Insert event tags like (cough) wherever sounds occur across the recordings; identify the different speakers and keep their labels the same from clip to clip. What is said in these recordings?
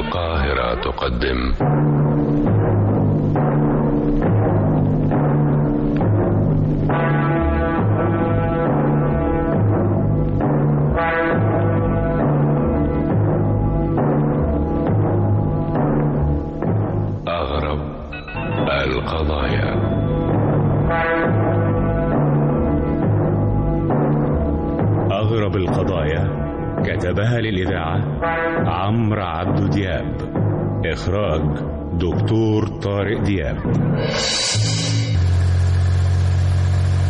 Speaker 1: القاهرة تقدم أغرب القضايا
Speaker 2: أغرب القضايا كتبها للإذاعة عمرو عبد دياب إخراج دكتور طارق دياب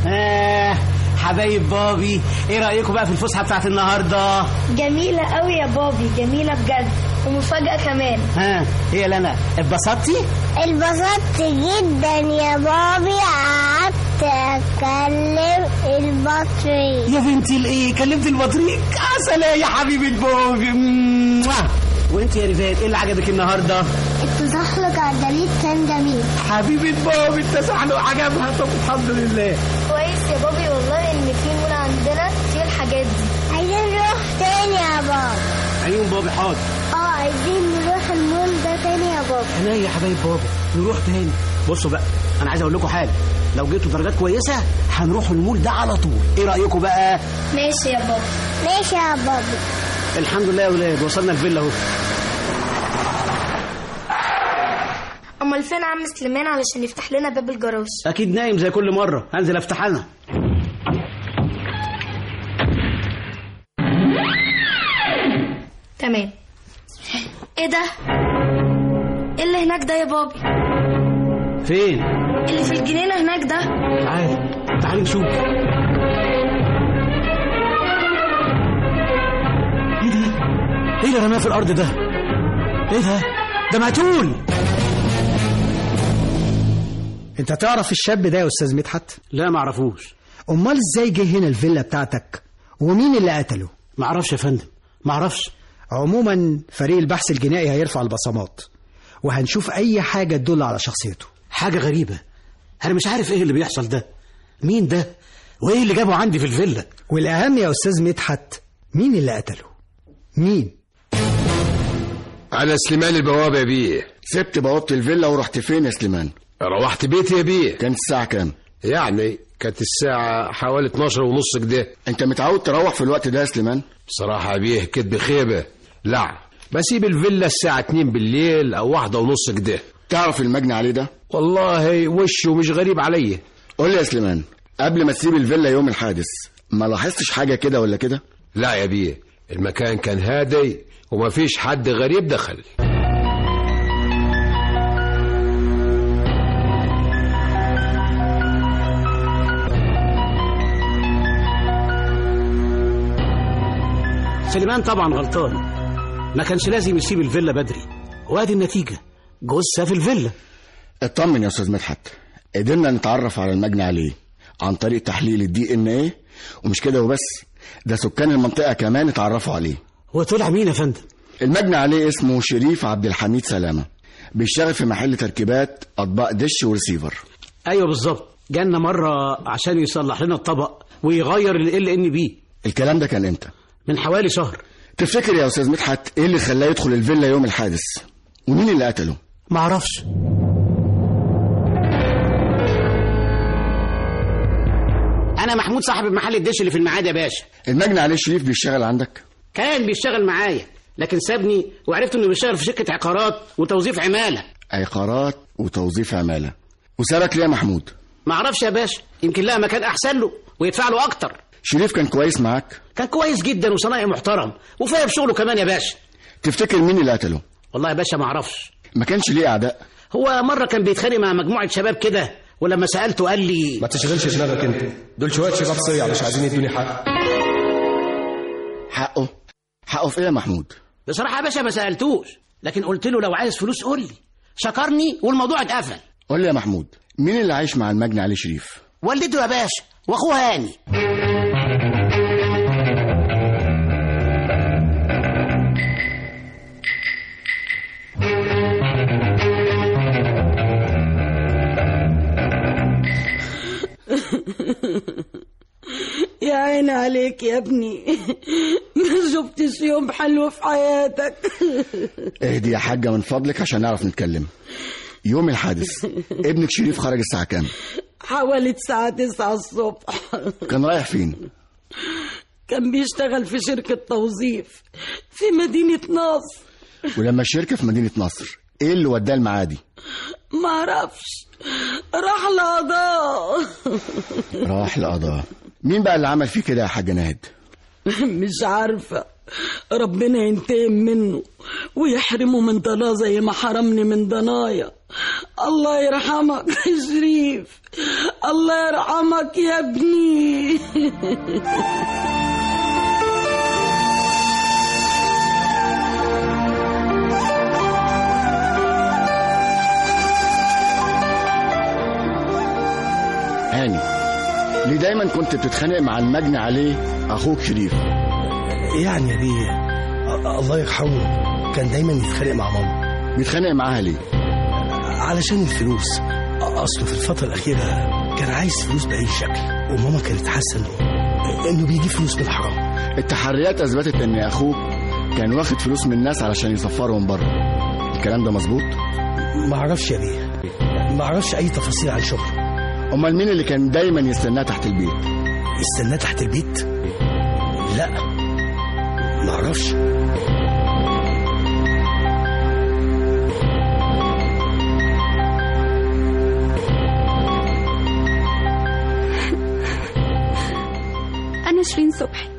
Speaker 3: آه حبايب بابي ايه رايكم بقى في الفسحه بتاعت النهارده
Speaker 4: جميلة قوي يا بابي جميلة بجد ومفاجأة كمان
Speaker 3: ها ايه يا لنا اتبسطتي
Speaker 5: اتبسطت جدا يا بابي قعدت اتكلم المصري
Speaker 3: يا بنتي الايه كلمت البطريق عسل يا حبيبه بابي موah. وانت يا ريفات ايه اللي عجبك النهارده
Speaker 5: التزحلق على الجليد كان جميل
Speaker 3: حبيبه بابي التسحلق عجبها طب الحمد لله
Speaker 4: كويس يا بابي والله ان في مول عندنا فيه الحاجات دي
Speaker 5: عايزين نروح تاني يا بابا
Speaker 3: عيون بابي حاضر
Speaker 5: اه عايزين نروح المول ده تاني يا بابا
Speaker 3: انا يا حبايب بابي نروح تاني بصوا بقى انا عايز اقول لكم حاجه لو جبتوا درجات كويسه هنروح المول ده على طول ايه رايكم بقى
Speaker 4: ماشي يا بابا
Speaker 5: ماشي يا بابا
Speaker 3: الحمد لله يا ولاد وصلنا الفيلا اهو
Speaker 4: امال فين عم سليمان علشان يفتح لنا باب الجراج
Speaker 3: اكيد نايم زي كل مره هنزل افتح لنا
Speaker 4: تمام ايه ده ايه اللي هناك ده يا بابي إيه
Speaker 3: فين
Speaker 4: اللي في الجنينه هناك ده
Speaker 3: تعالي تعالي نشوف ايه
Speaker 6: إيه
Speaker 3: ده ايه اللي رماه في الارض ده ايه ده ده مقتول
Speaker 6: انت تعرف الشاب ده يا استاذ مدحت
Speaker 3: لا معرفوش
Speaker 6: امال ازاي جه هنا الفيلا بتاعتك ومين اللي قتله
Speaker 3: معرفش يا فندم معرفش
Speaker 6: عموما فريق البحث الجنائي هيرفع البصمات وهنشوف اي حاجه تدل على شخصيته
Speaker 3: حاجه غريبه انا مش عارف ايه اللي بيحصل ده مين ده وايه اللي جابه عندي في الفيلا
Speaker 6: والاهم يا استاذ مدحت مين اللي قتله مين
Speaker 7: على سليمان البوابة يا بيه
Speaker 8: سبت بوابة الفيلا ورحت فين يا سليمان؟
Speaker 7: روحت بيتي يا بيه
Speaker 8: كانت الساعة كام؟
Speaker 7: يعني كانت الساعة حوالي 12 ونص كده
Speaker 8: أنت متعود تروح في الوقت ده يا سليمان؟
Speaker 7: بصراحة يا بيه كدب خيبة لا بسيب الفيلا الساعة 2 بالليل أو واحدة ونص كده
Speaker 8: تعرف المجني عليه ده؟
Speaker 7: والله وشه مش غريب عليا
Speaker 8: قول لي يا سليمان قبل ما تسيب الفيلا يوم الحادث ما لاحظتش حاجة كده ولا كده؟
Speaker 7: لا يا بيه المكان كان هادي ومفيش حد غريب دخل
Speaker 3: سليمان طبعا غلطان ما كانش لازم يسيب الفيلا بدري وادي النتيجه جثه في الفيلا
Speaker 8: اطمن يا أستاذ مدحت قدرنا نتعرف على المجني عليه عن طريق تحليل الدي إن إيه ومش كده وبس ده سكان المنطقة كمان اتعرفوا عليه
Speaker 3: وطلع مين يا فندم
Speaker 8: المجني عليه اسمه شريف عبد الحميد سلامة بيشتغل في محل تركيبات أطباق دش ورسيفر
Speaker 3: ايوه بالظبط جالنا مره عشان يصلح لنا الطبق ويغير ال ان بي
Speaker 8: الكلام ده كان إمتى؟
Speaker 3: من حوالي شهر
Speaker 8: تفتكر يا أستاذ مدحت إيه اللي خلاه يدخل الفيلا يوم الحادث؟ ومين اللي قتله؟
Speaker 3: معرفش انا محمود صاحب محل الدش اللي في المعاد يا باشا
Speaker 8: المجني عليه شريف بيشتغل عندك
Speaker 3: كان بيشتغل معايا لكن سابني وعرفت انه بيشتغل في شركه عقارات وتوظيف عماله
Speaker 8: عقارات وتوظيف عمالة وسابك ليه يا محمود
Speaker 3: معرفش يا باشا يمكن لها مكان احسن له ويدفع له اكتر
Speaker 8: شريف كان كويس معاك
Speaker 3: كان كويس جدا وصنايعي محترم وفاهم شغله كمان يا باشا
Speaker 8: تفتكر مين اللي قتله
Speaker 3: والله يا باشا معرفش
Speaker 8: ما كانش ليه أعداء
Speaker 3: هو مره كان بيتخانق مع مجموعه شباب كده ولما سالته قال لي
Speaker 9: ما تشغلش دماغك انت دول شويه شباب صيع مش عايزين يدوني حق
Speaker 8: حقه حقه في إيه يا محمود
Speaker 3: بصراحه يا باشا ما سالتوش لكن قلت له لو عايز فلوس قول لي شكرني والموضوع اتقفل
Speaker 8: قول لي يا محمود مين اللي عايش مع المجني عليه شريف
Speaker 3: والدته يا باشا واخوه هاني
Speaker 10: يا عيني عيني عليك يا ابني ما شفتش يوم حلو في حياتك
Speaker 8: اهدي إيه يا حاجة من فضلك عشان نعرف نتكلم يوم (laughs) الحادث ابنك شريف خرج الساعة كام
Speaker 10: حوالي الساعة 9 الصبح (laughs)
Speaker 8: كان رايح فين
Speaker 10: كان بيشتغل في شركة توظيف في مدينة ناصر
Speaker 8: ولما الشركة في مدينة نصر ايه اللي وداه المعادي
Speaker 10: معرفش راح لقضاء
Speaker 8: راح لقضاء مين بقى اللي عمل فيه كده يا حاجة ناهد
Speaker 10: (laughs) مش عارفة ربنا ينتقم منه ويحرمه من ضناه زي ما حرمني من ضنايا الله يرحمك يا شريف الله يرحمك يا ابني
Speaker 8: هاني ليه دايما كنت بتتخانق مع المجني عليه اخوك شريف
Speaker 11: يعني يا بيه أ- الله يرحمه كان دايما يتخانق مع ماما
Speaker 8: بيتخانق معاها ليه
Speaker 11: علشان الفلوس أ- اصله في الفتره الاخيره كان عايز فلوس باي شكل وماما كانت حاسه انه انه بيجيب فلوس من الحرام
Speaker 8: التحريات اثبتت ان اخوك كان واخد فلوس من الناس علشان يسفرهم بره الكلام ده مظبوط
Speaker 11: ما اعرفش يا بيه ما اعرفش اي تفاصيل عن شغله
Speaker 8: امال مين اللي كان دايما يستناه تحت البيت
Speaker 11: استناه تحت البيت لا ما اعرفش
Speaker 12: أنا شيرين صبحي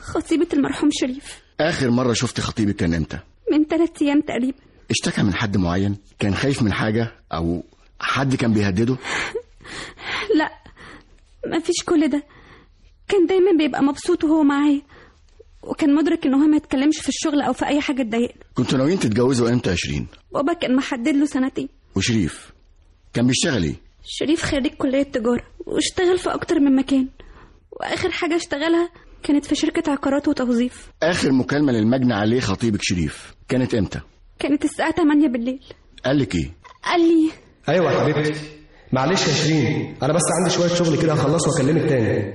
Speaker 12: خطيبة المرحوم شريف
Speaker 8: اخر مره شفت خطيبك كان امتى
Speaker 12: من ثلاث أيام تقريبا
Speaker 8: اشتكى من حد معين كان خايف من حاجه او حد كان بيهدده
Speaker 12: لا ما فيش كل ده كان دايما بيبقى مبسوط وهو معايا وكان مدرك ان هو ما يتكلمش في الشغل او في اي حاجه تضايقنا
Speaker 8: كنتوا ناويين تتجوزوا امتى يا شيرين
Speaker 12: بابا كان محدد له سنتين
Speaker 8: وشريف كان بيشتغل ايه
Speaker 12: شريف خريج كليه تجاره واشتغل في اكتر من مكان واخر حاجه اشتغلها كانت في شركه عقارات وتوظيف
Speaker 8: اخر مكالمه للمجني عليه خطيبك شريف كانت امتى
Speaker 12: كانت الساعه 8 بالليل
Speaker 8: قال لك ايه
Speaker 12: قال لي
Speaker 9: ايوه يا حبيبتي معلش يا شيرين انا بس عندي شويه شغل كده هخلصه واكلمك تاني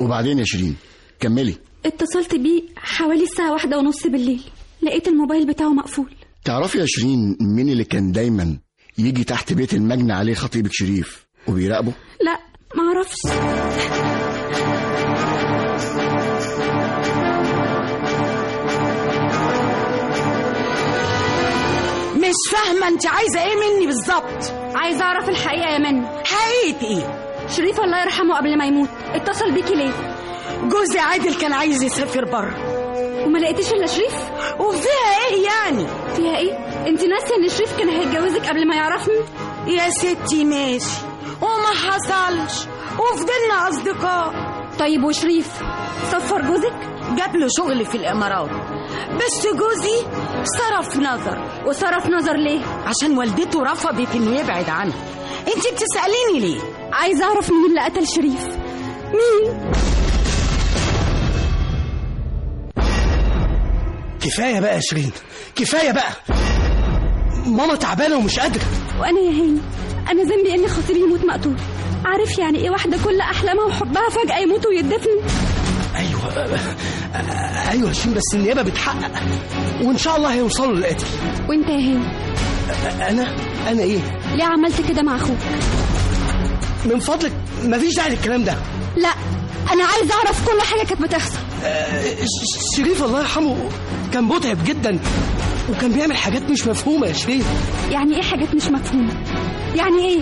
Speaker 8: وبعدين يا شيرين كملي
Speaker 12: اتصلت بيه حوالي الساعه واحدة ونص بالليل لقيت الموبايل بتاعه مقفول
Speaker 8: تعرفي يا شيرين مين اللي كان دايما يجي تحت بيت المجني عليه خطيبك شريف وبيراقبه
Speaker 12: لا معرفش
Speaker 10: مش فاهمة انت عايزة ايه مني بالظبط
Speaker 12: عايزة اعرف الحقيقة يا منى
Speaker 10: حقيقة ايه
Speaker 12: شريف الله يرحمه قبل ما يموت اتصل بيكي ليه
Speaker 10: جوزي عادل كان عايز يسافر بره
Speaker 12: وما لقيتيش الا شريف
Speaker 10: وفيها ايه يعني
Speaker 12: فيها ايه انت ناسيه ان شريف كان هيتجوزك قبل ما يعرفني
Speaker 10: يا ستي ماشي وما حصلش وفضلنا اصدقاء
Speaker 12: طيب وشريف سفر جوزك
Speaker 10: جاب له شغل في الامارات بس جوزي صرف نظر
Speaker 12: وصرف نظر ليه
Speaker 10: عشان والدته رفضت انه يبعد عنها انت بتساليني ليه
Speaker 12: عايزه اعرف مين اللي قتل شريف مين
Speaker 11: كفايه بقى يا شيرين كفايه بقى ماما تعبانه ومش قادره
Speaker 12: وانا يا هاني انا ذنبي ان خطيبي يموت مقتول عارف يعني ايه واحده كل احلامها وحبها فجاه يموت ويدفن
Speaker 11: ايوه آه، ايوه يا شيرين بس النيابه بتحقق وان شاء الله هيوصلوا للقاتل
Speaker 12: وانت يا هاني
Speaker 11: انا انا ايه
Speaker 12: إيه؟ ليه عملت كده مع اخوك
Speaker 11: من فضلك مفيش داعي للكلام ده
Speaker 12: لا انا عايزه اعرف كل حاجه كانت بتحصل
Speaker 11: آه، ش- شريف الله يرحمه كان متعب جدا وكان بيعمل حاجات مش مفهومه يا شريف
Speaker 12: يعني ايه حاجات مش مفهومه يعني ايه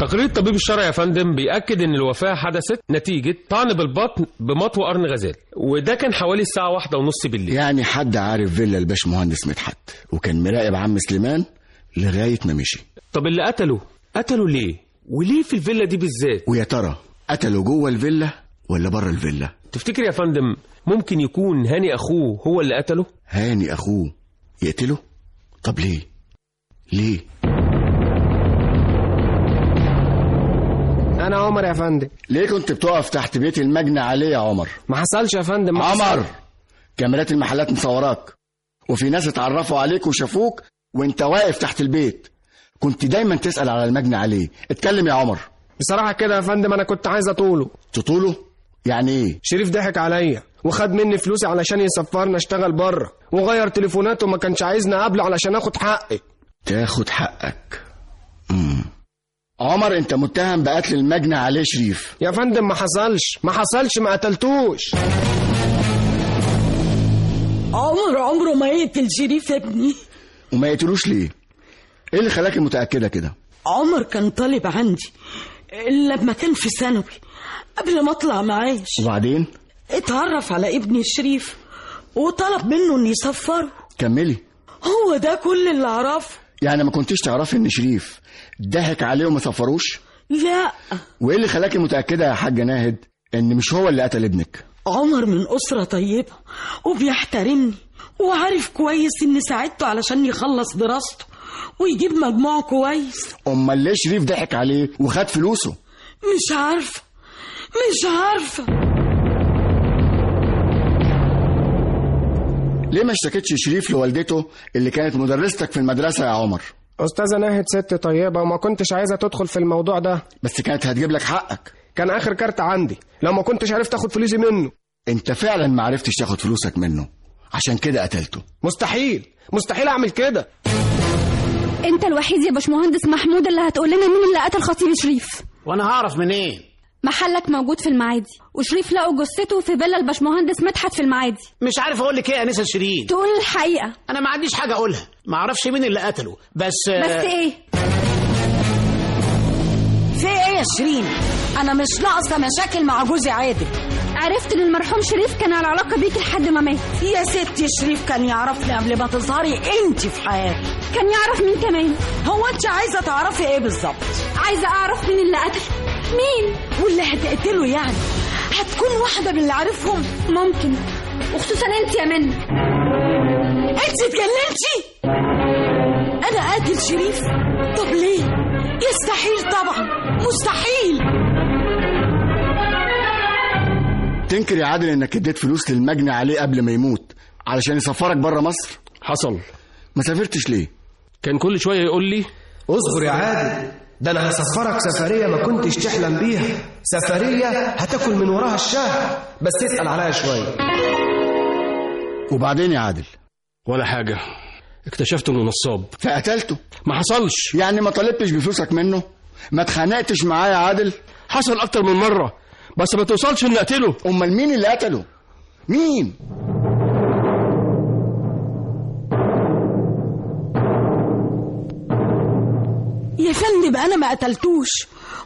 Speaker 13: تقرير الطبيب الشرعي يا فندم بيأكد إن الوفاة حدثت نتيجة طعن بالبطن بمطوى قرن غزال وده كان حوالي الساعة واحدة ونص بالليل
Speaker 8: يعني حد عارف فيلا الباش مهندس مدحت وكان مراقب عم سليمان لغايه ما مشي
Speaker 13: طب اللي قتله قتله ليه؟ وليه في الفيلا دي بالذات؟
Speaker 8: ويا ترى قتله جوه الفيلا ولا بره الفيلا
Speaker 13: تفتكر يا فندم ممكن يكون هاني أخوه هو اللي قتله؟
Speaker 8: هاني اخوه يقتله طب ليه ليه
Speaker 9: انا عمر يا فندم
Speaker 8: ليه كنت بتقف تحت بيت المجني عليه يا عمر
Speaker 9: ما حصلش يا فندم ما حصل-
Speaker 8: عمر كاميرات المحلات مصوراك وفي ناس اتعرفوا عليك وشافوك وانت واقف تحت البيت كنت دايما تسأل على المجني عليه اتكلم يا عمر
Speaker 9: بصراحة كده يا فندم أنا كنت عايز أطوله
Speaker 8: تطوله؟ يعني إيه؟
Speaker 9: شريف ضحك عليا وخد مني فلوسي علشان يسفرني أشتغل بره وغير تليفوناته وما كانش عايزني أقابله علشان آخد حقي
Speaker 8: تاخد حقك مم. عمر انت متهم بقتل المجني عليه شريف
Speaker 9: يا فندم ما حصلش ما حصلش ما قتلتوش
Speaker 10: عمر عمره ما يقتل شريف يا ابني
Speaker 8: وما يقتلوش ليه ايه اللي خلاك متاكده كده
Speaker 10: عمر كان طالب عندي لما كان في ثانوي قبل ما اطلع معاش
Speaker 8: وبعدين
Speaker 10: اتعرف على ابني شريف وطلب منه ان يسفره
Speaker 8: كملي
Speaker 10: هو ده كل اللي اعرفه
Speaker 8: يعني ما كنتيش تعرفي ان شريف ضحك عليه وما سفروش
Speaker 10: لا
Speaker 8: وايه اللي خلاكي متاكده يا حاجه ناهد ان مش هو اللي قتل ابنك
Speaker 10: عمر من أسرة طيبة وبيحترمني وعارف كويس إني ساعدته علشان يخلص دراسته ويجيب مجموع كويس
Speaker 8: امال ليه شريف ضحك عليه وخد فلوسه
Speaker 10: مش عارفة مش عارفة
Speaker 8: ليه ما اشتكتش شريف لوالدته اللي كانت مدرستك في المدرسه يا عمر
Speaker 9: أستاذة ناهد ست طيبة وما كنتش عايزة تدخل في الموضوع ده
Speaker 8: بس كانت هتجيب لك حقك
Speaker 9: كان آخر كارت عندي لو ما كنتش عرفت آخد فلوسي منه
Speaker 8: انت فعلا ما عرفتش تاخد فلوسك منه عشان كده قتلته
Speaker 9: مستحيل مستحيل أعمل كده
Speaker 12: انت الوحيد يا باشمهندس محمود اللي هتقول لنا مين اللي قتل خطيب شريف
Speaker 3: وانا هعرف منين
Speaker 12: محلك موجود في المعادي وشريف لقوا جثته في فيلا الباشمهندس مدحت في المعادي
Speaker 3: مش عارف اقول لك ايه يا انسه شيرين
Speaker 12: تقول الحقيقه
Speaker 3: انا ما عنديش حاجه اقولها ما اعرفش مين اللي قتله بس
Speaker 12: بس ايه
Speaker 14: في ايه يا شيرين انا مش ناقصه مشاكل مع جوزي عادل
Speaker 12: عرفت ان المرحوم شريف كان على علاقه بيكي لحد ما مات
Speaker 14: يا ستي شريف كان يعرفني قبل ما تظهري انت في حياتي
Speaker 12: كان يعرف مين كمان
Speaker 14: هو انت عايزه تعرفي ايه بالظبط
Speaker 12: عايزه اعرف مين اللي قتل مين
Speaker 14: واللي هتقتله يعني هتكون واحده من اللي عارفهم
Speaker 12: ممكن وخصوصا انت يا منى
Speaker 14: انت اتجننتي انا قاتل شريف طب ليه يستحيل طبعا مستحيل
Speaker 8: تنكر يا عادل انك اديت فلوس للمجني عليه قبل ما يموت علشان يسفرك بره مصر
Speaker 13: حصل
Speaker 8: ما سافرتش ليه
Speaker 13: كان كل شوية يقول لي
Speaker 9: اصبر يا عادل ده انا هسفرك سفرية ما كنتش تحلم بيها سفرية هتاكل من وراها الشهر بس اسأل عليها شوية
Speaker 8: وبعدين يا عادل
Speaker 13: ولا حاجة اكتشفت انه نصاب
Speaker 8: فقتلته
Speaker 13: ما حصلش
Speaker 8: يعني ما طلبتش بفلوسك منه ما اتخانقتش معاه يا عادل
Speaker 13: حصل اكتر من مرة بس ما توصلش ان اقتله
Speaker 8: امال مين اللي قتله مين
Speaker 10: يا فندم أنا ما قتلتوش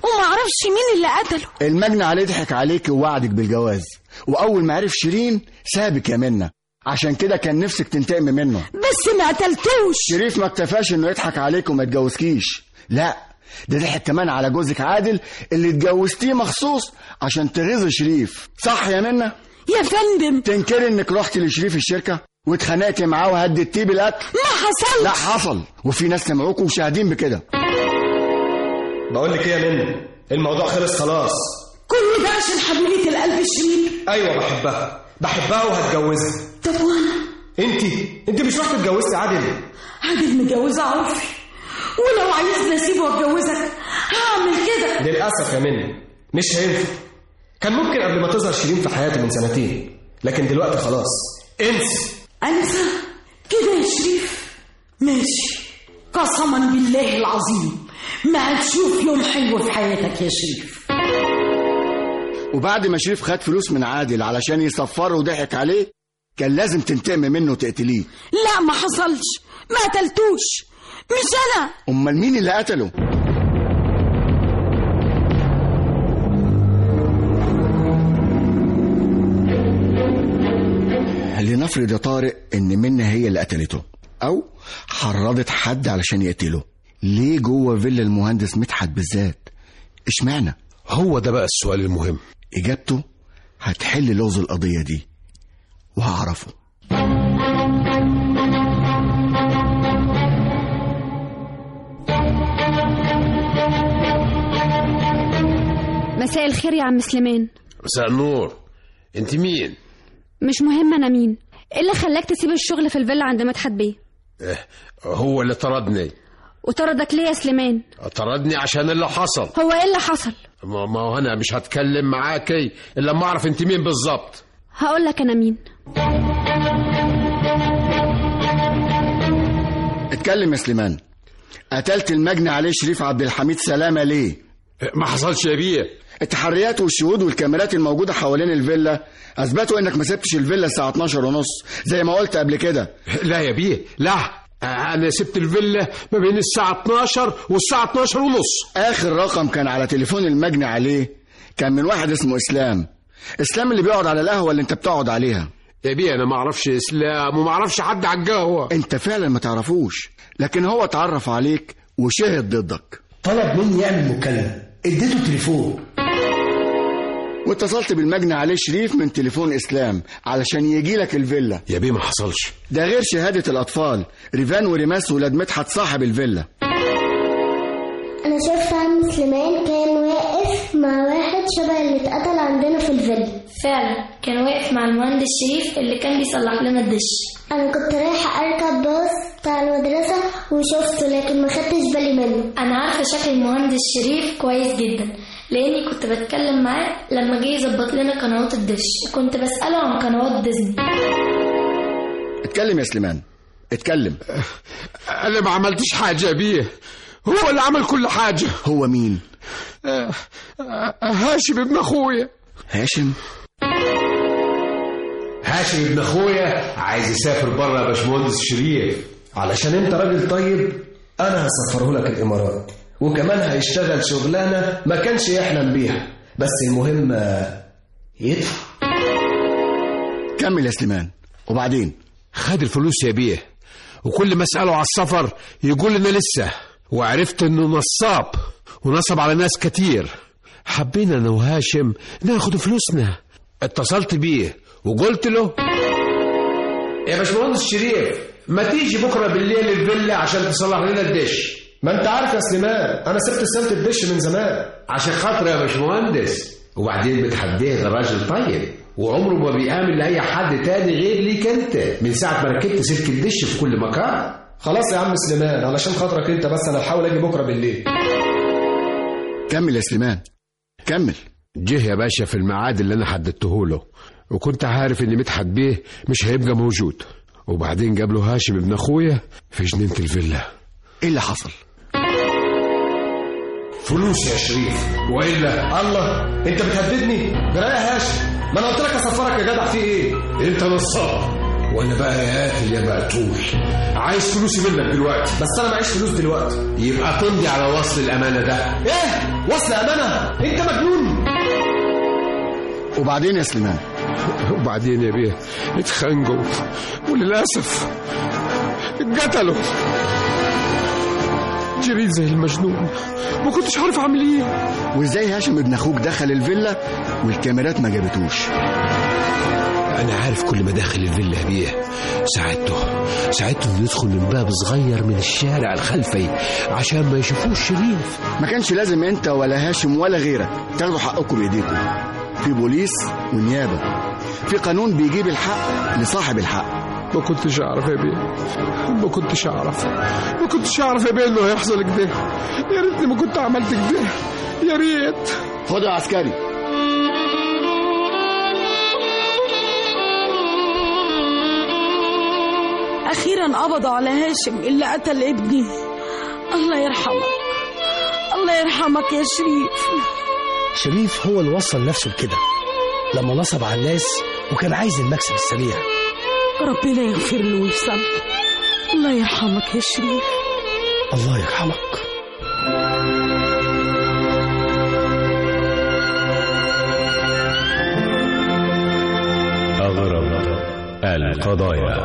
Speaker 10: وما أعرفش مين اللي قتله
Speaker 8: المجني عليه ضحك عليك ووعدك بالجواز واول ما عرف شيرين سابك يا منى عشان كده كان نفسك تنتقم منه
Speaker 10: بس ما قتلتوش
Speaker 8: شريف ما اكتفاش انه يضحك عليك وما يتجوزكيش لا ده ضحك كمان على جوزك عادل اللي اتجوزتيه مخصوص عشان تغيظي شريف صح يا منى
Speaker 10: يا فندم
Speaker 8: تنكري انك رحت لشريف الشركه واتخانقتي معاه وهددتيه بالقتل
Speaker 10: ما حصلش
Speaker 8: لا حصل وفي ناس سمعوك وشاهدين بكده
Speaker 9: بقول لك ايه يا منى الموضوع خلص خلاص
Speaker 10: كل ده عشان حبيبة القلب الشريف
Speaker 9: ايوه بحبها بحبها وهتجوزها
Speaker 10: طب وانا
Speaker 9: انت انت مش رحت اتجوزت عادل
Speaker 10: عادل متجوزة عرفي ولو عايزني اسيبه واتجوزك هعمل كده
Speaker 9: للاسف يا منى مش هينفع كان ممكن قبل ما تظهر شيرين في حياته من سنتين لكن دلوقتي خلاص انسى
Speaker 10: انسى كده يا شريف ماشي قسما بالله العظيم ما هتشوف يوم حلو في حياتك يا شريف
Speaker 8: وبعد ما شريف خد فلوس من عادل علشان يصفره وضحك عليه كان لازم تنتقمي منه وتقتليه
Speaker 10: لا ما حصلش ما قتلتوش مش انا
Speaker 8: امال مين اللي قتله لنفرض يا طارق ان منى هي اللي قتلته او حرضت حد علشان يقتله ليه جوه فيلا المهندس مدحت بالذات اشمعنى
Speaker 7: هو ده بقى السؤال المهم
Speaker 8: اجابته هتحل لغز القضيه دي وهعرفه
Speaker 12: مساء الخير يا عم سليمان
Speaker 7: مساء النور انت مين
Speaker 12: مش مهم انا مين إيه ايه اللي خلاك تسيب الشغل في الفيلا عند مدحت بيه
Speaker 7: اه، هو اللي طردني
Speaker 12: وطردك ليه يا سليمان
Speaker 7: طردني عشان اللي حصل
Speaker 12: هو ايه اللي حصل
Speaker 7: ما ما هو انا مش هتكلم معاكي الا لما اعرف انت مين بالظبط
Speaker 12: هقول لك انا مين
Speaker 8: اتكلم يا سليمان قتلت المجني عليه شريف عبد الحميد سلامه ليه
Speaker 7: ما حصلش يا بيه
Speaker 8: التحريات والشهود والكاميرات الموجوده حوالين الفيلا اثبتوا انك ما سبتش الفيلا الساعه 12 ونص زي ما قلت قبل كده
Speaker 7: لا يا بيه لا انا سبت الفيلا ما بين الساعه 12 والساعه 12 ونص
Speaker 8: اخر رقم كان على تليفون المجني عليه كان من واحد اسمه اسلام اسلام اللي بيقعد على القهوه اللي انت بتقعد عليها
Speaker 7: يا بيه انا ما اعرفش اسلام وما اعرفش حد على القهوه
Speaker 8: انت فعلا ما تعرفوش لكن هو اتعرف عليك وشهد ضدك
Speaker 11: طلب مني يعمل مكالمه اديته تليفون
Speaker 8: واتصلت بالمجني عليه شريف من تليفون اسلام علشان يجي لك الفيلا
Speaker 7: يا بيه ما حصلش
Speaker 8: ده غير شهاده الاطفال ريفان وريماس ولاد مدحت صاحب الفيلا
Speaker 5: انا شايف فهم سليمان كان واقف مع واحد شبه اللي اتقتل عندنا في الفيلا
Speaker 4: فعلا كان واقف مع المهندس شريف اللي كان بيصلح لنا الدش
Speaker 5: انا كنت رايحه اركب باص بتاع المدرسه وشفته لكن ما خدتش بالي منه
Speaker 4: انا عارفه شكل المهندس شريف كويس جدا لاني كنت بتكلم معاه لما جه يظبط لنا قنوات الدش كنت بساله عن قنوات ديزني
Speaker 8: اتكلم يا سليمان اتكلم
Speaker 7: انا ما عملتش حاجه يا بيه هو اللي عمل كل حاجه
Speaker 8: هو مين
Speaker 7: آه، آه، هاشم ابن اخويا
Speaker 8: هاشم
Speaker 9: هاشم ابن اخويا عايز يسافر بره يا باشمهندس شريف علشان انت راجل طيب انا هسفره لك الامارات وكمان هيشتغل شغلانه ما كانش يحلم بيها بس المهم آه، يدفع
Speaker 8: كمل يا سليمان وبعدين
Speaker 7: خد الفلوس يا بيه وكل ما اساله على السفر يقول لنا لسه وعرفت انه نصاب ونصب على ناس كتير حبينا انا وهاشم ناخد فلوسنا اتصلت بيه وقلت له يا باشمهندس شريف ما تيجي بكره بالليل الفيلا عشان تصلح لنا الدش
Speaker 9: ما انت عارف يا سليمان انا سبت سمت الدش من زمان
Speaker 7: عشان خاطر يا باشمهندس وبعدين بتحديه ده راجل طيب وعمره ما بيآمن لأي حد تاني غير ليك أنت من ساعة ما ركبت سلك الدش في كل مكان
Speaker 9: خلاص يا عم سليمان علشان خاطرك انت بس انا هحاول اجي بكره بالليل
Speaker 8: كمل يا سليمان كمل
Speaker 7: جه يا باشا في الميعاد اللي أنا حددته له وكنت عارف إن مدحت بيه مش هيبقى موجود وبعدين جاب له هاشم ابن أخويا في جنينة الفيلا
Speaker 8: ايه اللي حصل
Speaker 9: فلوس يا شريف والا الله انت بتهددني جرايه يا هاشم ما انا قلت لك اسفرك يا جدع في ايه
Speaker 7: إيه؟ أنت نصاب وأنا بقى يا قاتل يا مقتول عايز فلوسي منك دلوقتي
Speaker 9: بس انا معيش فلوس دلوقتي
Speaker 7: يبقى تمضي على وصل الأمانة ده
Speaker 9: ايه وصل امانه انت مجنون
Speaker 8: وبعدين يا سليمان
Speaker 7: وبعدين يا بيه اتخنقوا وللأسف اتقتلوا جريت زي المجنون ما كنتش عارف اعمل ايه
Speaker 8: وازاي هاشم ابن اخوك دخل الفيلا والكاميرات ما جابتوش
Speaker 7: انا عارف كل ما داخل الفيلا بيه ساعدته ساعدته انه يدخل من باب صغير من الشارع الخلفي عشان ما يشوفوش شريف
Speaker 8: ما كانش لازم انت ولا هاشم ولا غيرك تاخدوا حقكم بايديكم في بوليس ونيابه في قانون بيجيب الحق لصاحب الحق
Speaker 7: ما كنتش اعرف يا بيه ما كنتش اعرف ما كنتش اعرف يا بيه انه هيحصل كده يا ريتني ما كنت عملت كده يا ريت
Speaker 8: خد يا عسكري
Speaker 10: أخيرا قبضوا على هاشم اللي قتل ابني الله يرحمك الله يرحمك يا شريف
Speaker 11: شريف هو اللي وصل نفسه لكده لما نصب على الناس وكان عايز المكسب السريع
Speaker 10: ربنا يغفر له ويسامحه الله يرحمك يا شريف
Speaker 11: الله يرحمك
Speaker 2: أغرب القضايا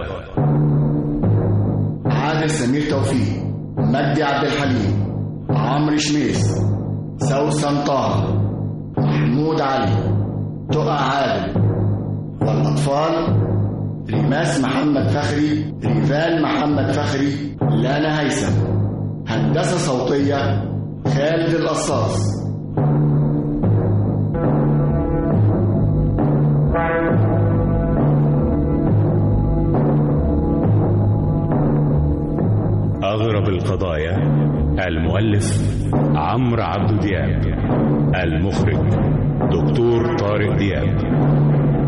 Speaker 8: عادل سمير توفيق مجدي عبد الحليم عمرو شميس سوسن طه محمود علي تقى عادل والأطفال ريماس محمد فخري ريفان محمد فخري لانا هيثم هندسة صوتية خالد القصاص
Speaker 2: أغرب
Speaker 7: أرباب القضايا المؤلف عمرو عبد دياب المخرج دكتور طارق دياب